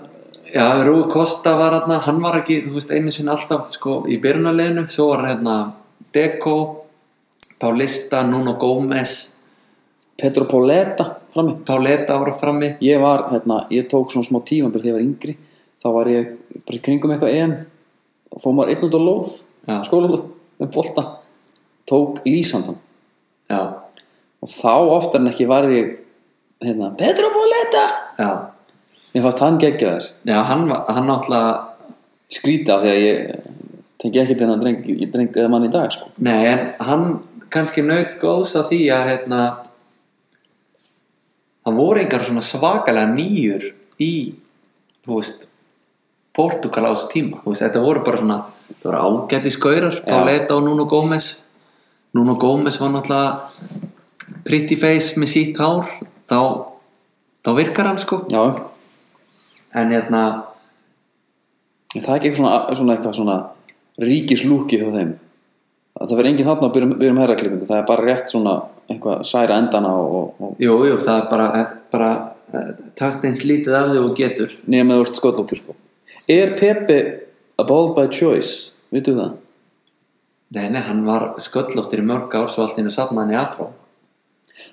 S2: já, Rúi Costa var hérna hann var ekki, þú veist, einu sinni alltaf sko, í byrjunarliðinu, svo var hérna Deco, Paulista Nuno Gómez,
S1: Petro Pauleta frammi
S2: Pauleta var oft frammi
S1: ég var, hérna, ég tók svona smá tíma þegar ég var yngri, þá var ég bara í kringum eitthvað EM og fór maður einn út á lóð,
S2: Já.
S1: skólalóð með bolta, tók lýsandan
S2: já,
S1: og þá oftar en ekki var ég hérna, Petro Pauleta
S2: já,
S1: ég fannst hann geggja þær,
S2: já hann, var- hann náttúrulega
S1: skrýta því að ég tengi ekkert þennan dreng, ég dreng eða mann í dag, sko
S2: Nei, en hann kannski naut góðs að því að hérna hann voru engar svona svakalega nýjur í, þú veist Portugal á þessu tíma þú veist, þetta voru bara svona, það voru ágæti skaurar, Pauleta og Nuno Gómez Nuno Gómez var náttúrulega pretty face með sítt hár þá, þá virkar hann sko
S1: já,
S2: en hérna,
S1: en það er ekki eitthvað svona, svona eitthvað svona ríkislúki hjá þeim Að það verður enginn þarna að byrja, byrja um herraklippingu það er bara rétt svona eitthvað særa endana og, og,
S2: jú, jú, það er bara, bara eh, takt eins lítið af því og þú getur
S1: nema þú ert skotlóttur sko er Pepe a ball by choice vituð það?
S2: Nei, nei, hann var sköllóttur í mörg ár svo allt í einu safna hann í afró.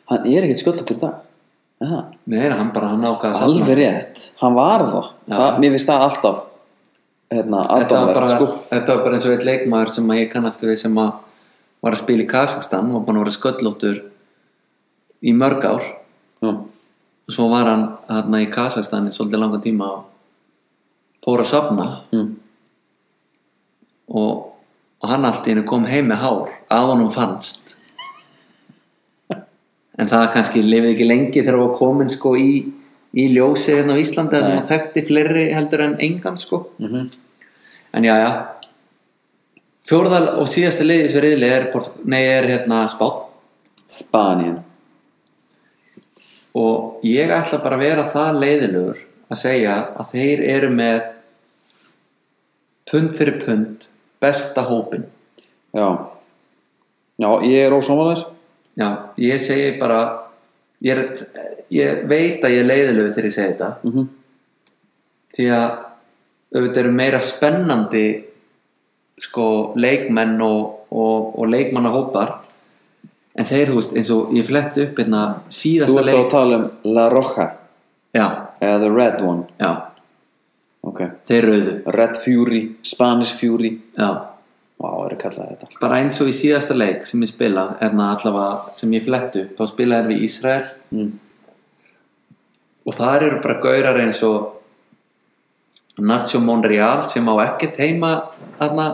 S1: hann er ekkert skotlóttur í dag Er það?
S2: Nei, nei, hann bara hann ákvaða að safna.
S1: alveg rétt, hann var það,
S2: Já.
S1: það mér finnst það alltaf hérna,
S2: Þetta var, bara,
S1: aðdámavert sko
S2: þetta var bara eins og eitt leikmaður sem að ég kannast við sem að var að spila í Kazakstan og bara var sköllóttur í mörg ár
S1: Já.
S2: og svo var hann hann í Kazakstan í svolítið langan tíma og fór að safna
S1: Mm.
S2: og, og hann allt í einu kom heim með hár að honum fannst en það kannski lifið ekki lengi þegar það var komin sko í, í ljósið hérna á Íslandi þar sem
S1: Nei.
S2: hann þekkti fleiri heldur en engan sko
S1: Mhm.
S2: en já já fjórðal og síðasta liðið þessu riðli er, Port- nei, er hérna Spán
S1: Spanien
S2: og ég ætla bara að vera það leiðilegur að segja að þeir eru með pund fyrir pund besta hópin
S1: já, já ég er ósámaðar
S2: já, ég segi bara ég, er, ég veit að ég er leiðilegur þegar ég segi þetta
S1: mm -hmm.
S2: því að auðvitað eru meira spennandi sko leikmenn og, og, og leikmannahópar en þeir, þú veist, eins og ég fletti upp hérna
S1: þú
S2: síðasta
S1: ert þá að
S2: leik
S1: tala um La Roja
S2: já,
S1: eða The Red One
S2: já,
S1: ok,
S2: þeir rauðu
S1: Red Fury, Spanish Fury
S2: já
S1: Vá, er að kalla þetta
S2: bara eins og í síðasta leik sem ég spila hérna allavega sem ég flettu þá spilaði er við Ísrael mm. og þar eru bara gaurar eins og Nacho Monreal sem á ekkert heima hérna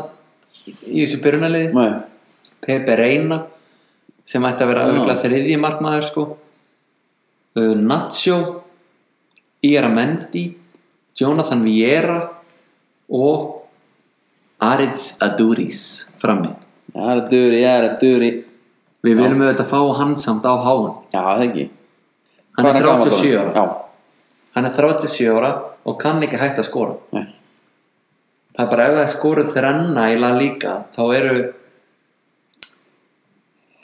S2: í þessu byrjunaliði
S1: Nei,
S2: Pepe Reina sem ætti að vera
S1: Já.
S2: auðvitað þriðji markmaður sko Uh, Nacho Íramendi Jonathan Vieira og Ariz Aduris frammi
S1: það er að duri, ég er að duri
S2: Við viljum auðvitað fá hann samt á háan
S1: Já, það ekki
S2: Hann er
S1: Hvað gamall
S2: 37
S1: orðinn?
S2: ára Hann er 37 ára og kann ekki hægt að skora
S1: Já, nei,
S2: Það er bara ef það skoruð þrenna í La Liga þá eru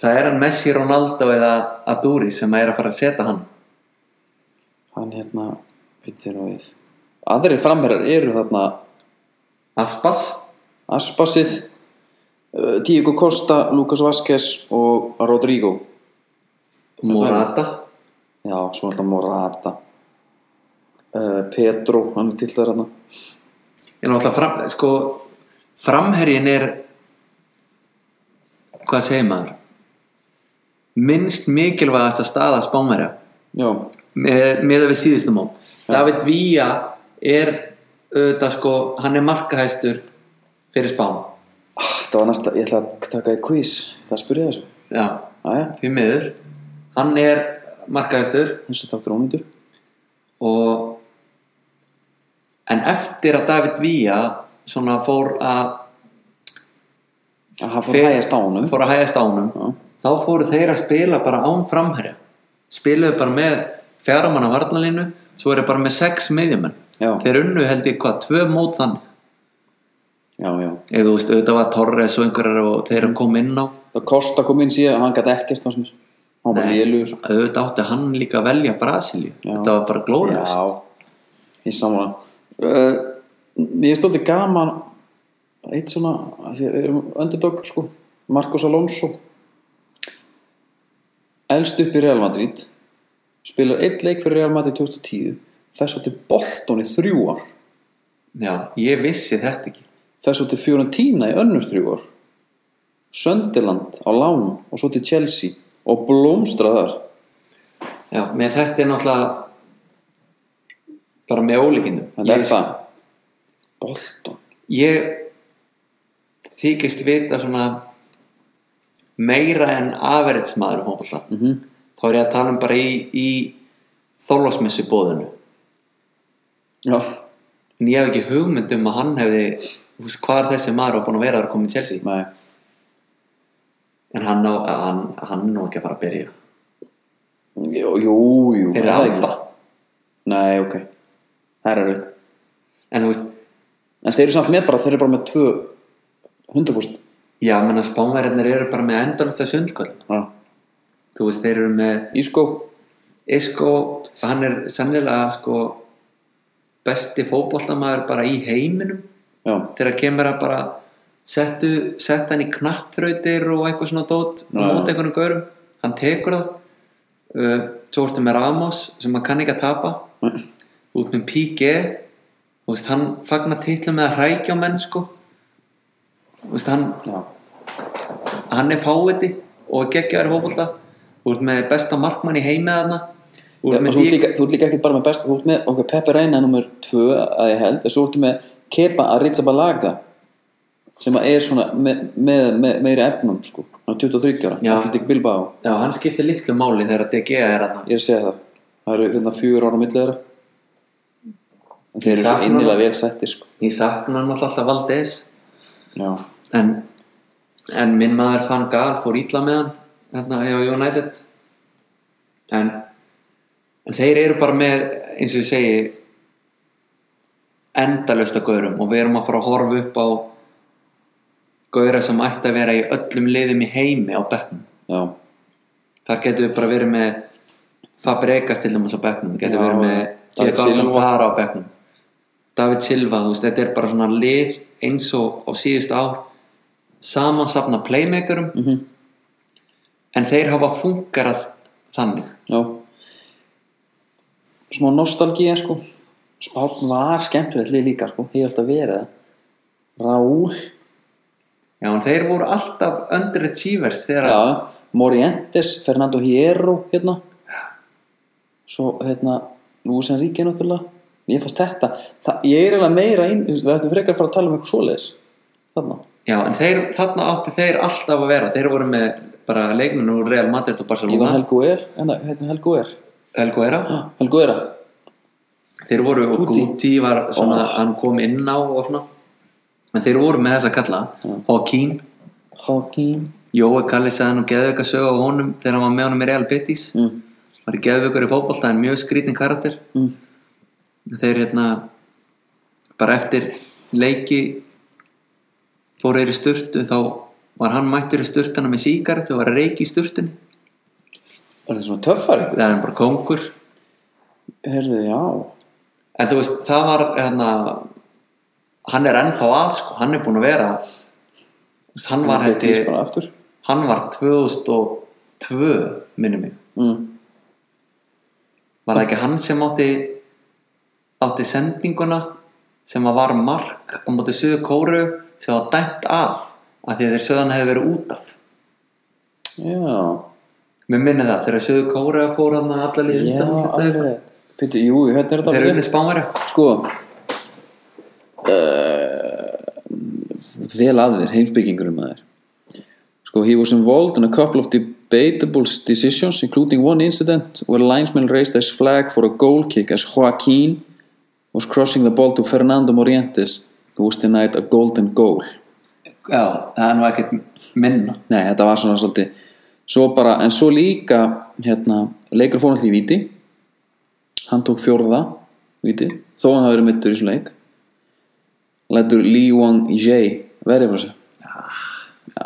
S2: það er hann Messi, Ronaldo eða Aduri sem er að fara að setja hann
S1: hann hérna Býttu þér á við Aðrir framherjar eru þarna
S2: Aspas
S1: Aspasið uh, Diego Costa, Lucas Vázquez og Rodrigo
S2: og Morata
S1: Já, svo alltaf Morata uh, Pedro, hann er til þar hérna
S2: Ég er náttúrulega fram, sko, framherjin er hvað segir maður minnst mikilvægasta staða spámerja
S1: já,
S2: með, með við síðustum á David Villa er auðvitað sko, hann er markahæstur fyrir spán
S1: Ah, það var næsta, ég ætla að taka í quiz það spurði þessu,
S2: já,
S1: aðja,
S2: því miður hann er markahæstur
S1: þessu þáttur ónýtur
S2: og en eftir að David Villa svona fór að
S1: að það fór að hægast á honum
S2: fór að hægjast á honum
S1: Já.
S2: þá fóru þeir að spila bara án framherja spiluðu bara með fjármanna varnalínu svo eru bara með sex miðjumenn
S1: Já.
S2: þeir unnu held ég hvað, tvö mót þannig
S1: já, já,
S2: eða þú veist, auðvitað var Torres og einhverjar og þeir
S1: Mm.
S2: eru komið inn á
S1: það kosta kom inn síðan hann gæti ekkert það sem er, hann var bara lélugur
S2: auðvitað átti hann líka að velja Brasilíu þetta var bara glóðlust
S1: já, ég saman uh, ég er stoltið gaman eitt svona, af því að við erum underdog sko, Marcos Alonso elst upp í Real Madrid spilar eitt leik fyrir Real Madrid 2010 þess átti Bolton í þrjú ár
S2: já, ég vissi þetta ekki
S1: þess svo til Fiorentina í önnur þrjú ár Söndiland á lán og svo til Chelsea og blómstra þar
S2: já, með þetta er náttúrulega bara með ólíkindum
S1: þetta er
S2: Ég-
S1: það Bolton
S2: ég þykist vita svona meira en average maður um mm -hmm.
S1: Mhm.
S2: þá er ég að tala um bara í, í þólasmessu bóðinu
S1: já,
S2: en ég hef ekki hugmynd um að hann hefði þú veist, hvað er þessi maður var búin að vera að koma í Chelsea
S1: nei,
S2: en hann, á, hann, hann er nú ekki að fara að byrja
S1: jú, jú, jú er
S2: fyrir
S1: það ekki?
S2: Alba
S1: nei, ok, það er rauð
S2: en þú veist,
S1: en þeir eru samt með bara, þeir eru bara með tvö hundakúst
S2: já, menn að spánverðinir eru bara með endanasta sundkvöld þú veist, þeir eru með
S1: Ísko,
S2: Isco, hann er sannilega sko besti fótboltamaður bara í heiminum
S1: já,
S2: þegar kemur að bara settu, setta hann í knappþrautir og eitthvað svona dót
S1: Já,
S2: og móta
S1: já.
S2: einhvern gaurum, hann tekur það uh, svo ertu með Ramos sem hann kann ekki að tapa
S1: Nei.
S2: út með P.G. Þú veist, hann fagnar titla með að hrækja á menn sko Þú veist, hann,
S1: já
S2: hann er fáiði og geggjaður í fótbolta út með besta markmann í heimi þarna
S1: Já,
S2: út
S1: og
S2: með
S1: Þú ert líka,
S2: Diego-
S1: þú ert líka ekkert bara með best Þú ert með okkar Pepe Reina nummer 2 að ég held en svo ertu með Kepa Arrizabalaga sem að er svona með, með, með meiri efnum sko hann er 23 ára,
S2: Já.
S1: allir ekki Bilbao
S2: Já, hann skiptir litlu máli þegar DG er hann
S1: Ég er að segja það, það eru þarna fjögur ára á milli þeirra en þeir eru svo
S2: Sakna
S1: innilega
S2: hann.
S1: vel settir sko
S2: Ég sakna hann alltaf alltaf Valdez
S1: Já,
S2: en, en minn maður fann gal fór ítla með hann hérna hjá United en, en þeir eru bara með eins og ég segi endalösta gaurum og við erum að fara að horfa upp á gaura sem ætti að vera í öllum liðum í heimi á bekknum
S1: já,
S2: þar getum við bara verið með Fabregas til dæmis á bekknum getum
S1: Já,
S2: verið með
S1: já. David
S2: Diego
S1: Silva.
S2: Alcantara á bekknum David Silva, þú veist, þetta er bara svona lið eins og á síðustu ár samansapna playmakerum
S1: Mhm.
S2: -hmm. en þeir hafa fungarað þannig
S1: já Smá nostalgía sko Spátn var skemmtilegt lið líka sko Ég held að vera það Raúl
S2: já, en þeir voru alltaf underachievers þegar að
S1: Já, Morientes, Fernando Hierro hérna svo hérna Luis Enrique náttúrulega ég fannst þetta, Þa, ég er eiginlega meira inn, við ættum frekar að fara að tala um eitthvað svoleiðis þarna,
S2: já, en þeir, þarna áttu þeir alltaf að vera þeir voru með bara leikninu úr Real Madrid og
S1: Ívan
S2: Barcelona
S1: Helgu er hérna hérna Helgu er,
S2: Helgo Era
S1: Ah, Helgu er
S2: þeir voru og
S1: Guti.
S2: Guti var svona,
S1: Ó.
S2: hann kom inn á og svona en þeir voru með þess að kalla Hawking,
S1: Hákín
S2: Jói Kallis að hann og geðvika sög á honum þegar hann var með honum í Real Betis
S1: mm.
S2: var í geðvikur í fótbolta en mjög skrýtin karakter
S1: Mm.
S2: þeir hérna bara eftir leiki fóru þeir í sturtu þá var hann mættur í sturtuna með síkaretu og var að reiki í sturtunni
S1: er þetta svona töffari?
S2: það er bara kongur
S1: Herðu, já
S2: En þú veist, það var hérna, hann er ennþá að sko, hann er búinn að vera þú veist, hann var
S1: Betis
S2: hætti,
S1: bara aftur
S2: hann var 2002 minni mig,
S1: mm.
S2: var það ekki hann sem átti átti sendinguna sem að var mark á móti söðu kóru sem var dæmt af að því að þeir söðan hefði verið út af
S1: já,
S2: Mér minni það, þegar Suður Kóra fór hann að alla liðið
S1: já, alveg Pítu, jú, hérna er þetta
S2: Þeir
S1: alveg.
S2: eru unni spánverja
S1: Sko uh, Vel að þér, heimsbyggingurum að þér Sko, he was involved in a couple of debatable decisions including one incident where linesmen raised his flag for a goal kick as Joaquin was crossing the ball to Fernando Morientes who was denied a golden goal
S2: Já, það er nú ekkert minna
S1: Nei, þetta var svona svolítið svo bara, en svo líka hérna, leikur fór náttúrulega í viti hann tók fjórða viti, þó hann hafi verið mittur í svona leik lætur Lee Wang Jae verið frá sér já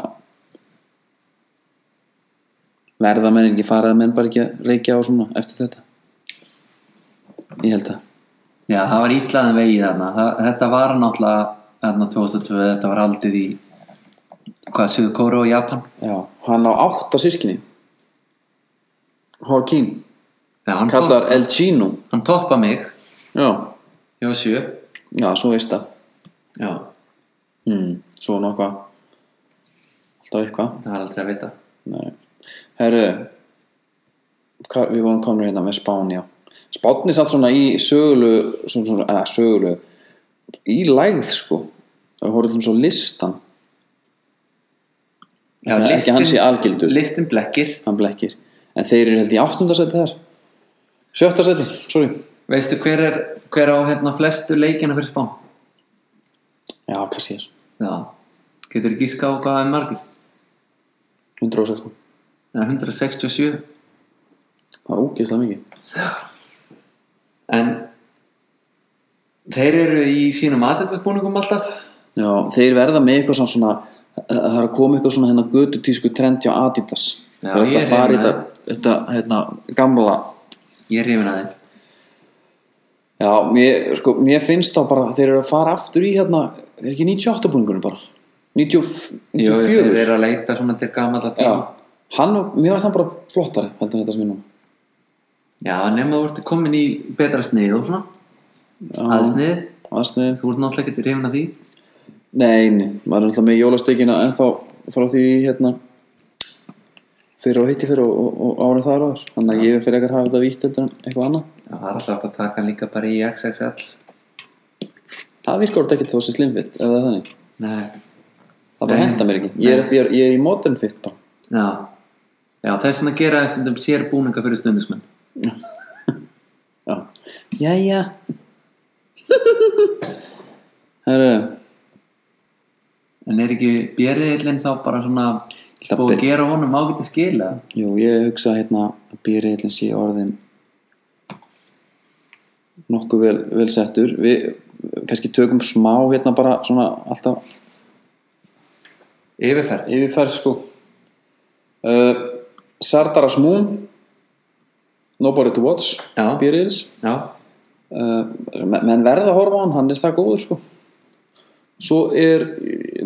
S1: verða menn ekki farið að menn bara ekki að reykja á svona eftir þetta ég held að
S2: Já, það var ítlaðin vegið þarna það, Þetta var náttúrulega þarna 2002, þetta var haldið í hvað, Suður Kóra og Japan
S1: já, hann á átta sískinni Hawking
S2: Já, hann, topp,
S1: kallar El Gino
S2: hann toppa mig
S1: já,
S2: Ég var sjö
S1: já, svo veist það
S2: Já,
S1: mm. svo nokvað alltaf eitthvað
S2: það er aldrei að vita
S1: Nei. herru hva- við vorum komin hérna með Spán já. Spánni satt svona í sögulu svona, svona, eða sögulu í lægð sko og horfðum svo listan
S2: Já,
S1: Það er ekki hann sé algildur.
S2: Listin blekkir
S1: hann blekkir, en þeir eru held í áttundasæti þar sjöttasæti, sorry
S2: Veistu hver er, hver á hérna flestu leikina fyrir spán?
S1: já, kannski þess,
S2: Já, getur ekki ská hvað er margir?
S1: 116
S2: Nei, 167
S1: það er ógeðslega mikið
S2: En þeir eru í sínum aðeinsbúningum alltaf
S1: já, þeir verða með eitthvað svona, svona það er að koma eitthvað svona hérna götutísku trend hjá Adidas
S2: Já,
S1: það er alltaf
S2: ég
S1: að fara í
S2: reyna.
S1: þetta, þetta hérna, gamla
S2: Ég er hrifin að þeim
S1: Já, mér, sko, mér finnst þá bara þeir eru að fara aftur í hérna er ekki 98 búningunum bara 90
S2: Jú, þeir
S1: 94
S2: eru að leita svona til gamalla
S1: Já,
S2: tíma
S1: hann, mér finnst hann bara flottari heldur en þetta sem ég núna
S2: Já, nema þú ert komin í betra snið og svona Aðsnið,
S1: Aðsnið,
S2: þú ert náttúrulega getur hrifin að því
S1: nei, nei, maður er alltaf með jólastekina en þá fara því hérna fyrir og hitti fyrir og, og, og árið þar áður þannig að ég er fyrir ekkert að hafa þetta vítt heldur en eitthvað annað
S2: Já, það er alltaf hægt að taka hann líka bara í XXL
S1: Það virkar þetta ekkert þó sem slimfitt eða þannig
S2: Nei,
S1: Það bara
S2: Nei.
S1: henda mér ekki, ég er, ég er, ég er í modern fit bara
S2: já Já, þess að gera stundum sér búninga fyrir stundismenn
S1: Já, jæja Herru,
S2: En er ekki björriðillin þá bara svona
S1: Það
S2: búið að
S1: byr-
S2: gera honum ágæti skila?
S1: jú, ég hugsa hérna að býriðillin sé orðin nokkuð vel, vel settur við kannski tökum smá hérna bara svona alltaf
S2: Yfirferð?
S1: yfirferð sko uh, Sardaras Moon Nobody to Watch
S2: Já.
S1: býriðils
S2: Já.
S1: uh, menn verða að horfa á hann, hann er það góður sko svo er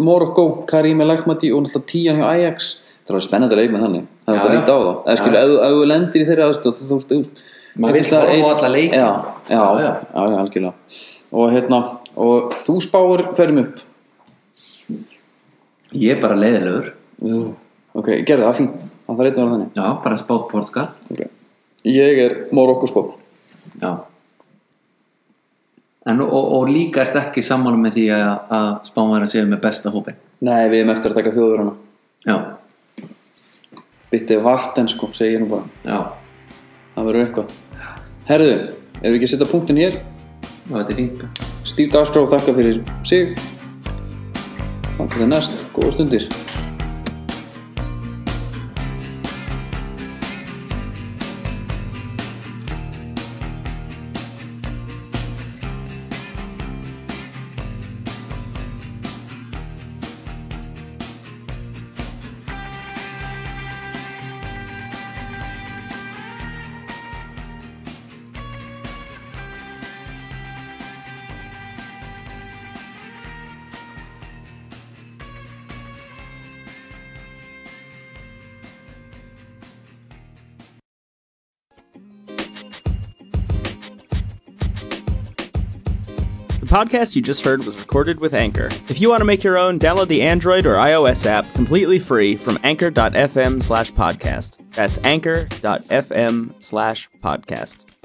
S1: Morocco, Karimi Lachmati og náttúrulega tían hjá Ajax það er alveg spennandi leik með þannig það er það
S2: Já, já.
S1: lítið á þá eða skil,
S2: Já, já.
S1: ef ef þú lendir í þeirri aðstöð þú ert út
S2: Maður vill
S1: Það er-
S2: horfa á alla leiki.
S1: já, já,
S2: Já,
S1: já,
S2: já.
S1: já, algjörlega og hérna, og þú spáir hverjum upp
S2: Ég er bara leiðilegur.
S1: Ú, ok, gerðu það fínt það þarf einn að vera þannig
S2: Já, bara spátt portugal.
S1: okay. ég er Morocco sko. spóð
S2: Já. En og, og líka ert ekki sammála með því að, að spánverðar séu með besta hópi.
S1: nei, við erum eftir að taka þjóðverðana
S2: Já.
S1: byttið vart en sko, segi ég nú bara
S2: Já.
S1: það verður eitthvað herðu, ef við ekki að setja punktin hér
S2: Og þetta er fínt.
S1: Steve Darskrá þakka fyrir sig þannig til næst, góða stundir
S4: podcast you just heard was recorded with Anchor. If you want to make your own, download the Android or iOS app completely free from anchor.fm slash podcast. That's anchor.fm slash podcast.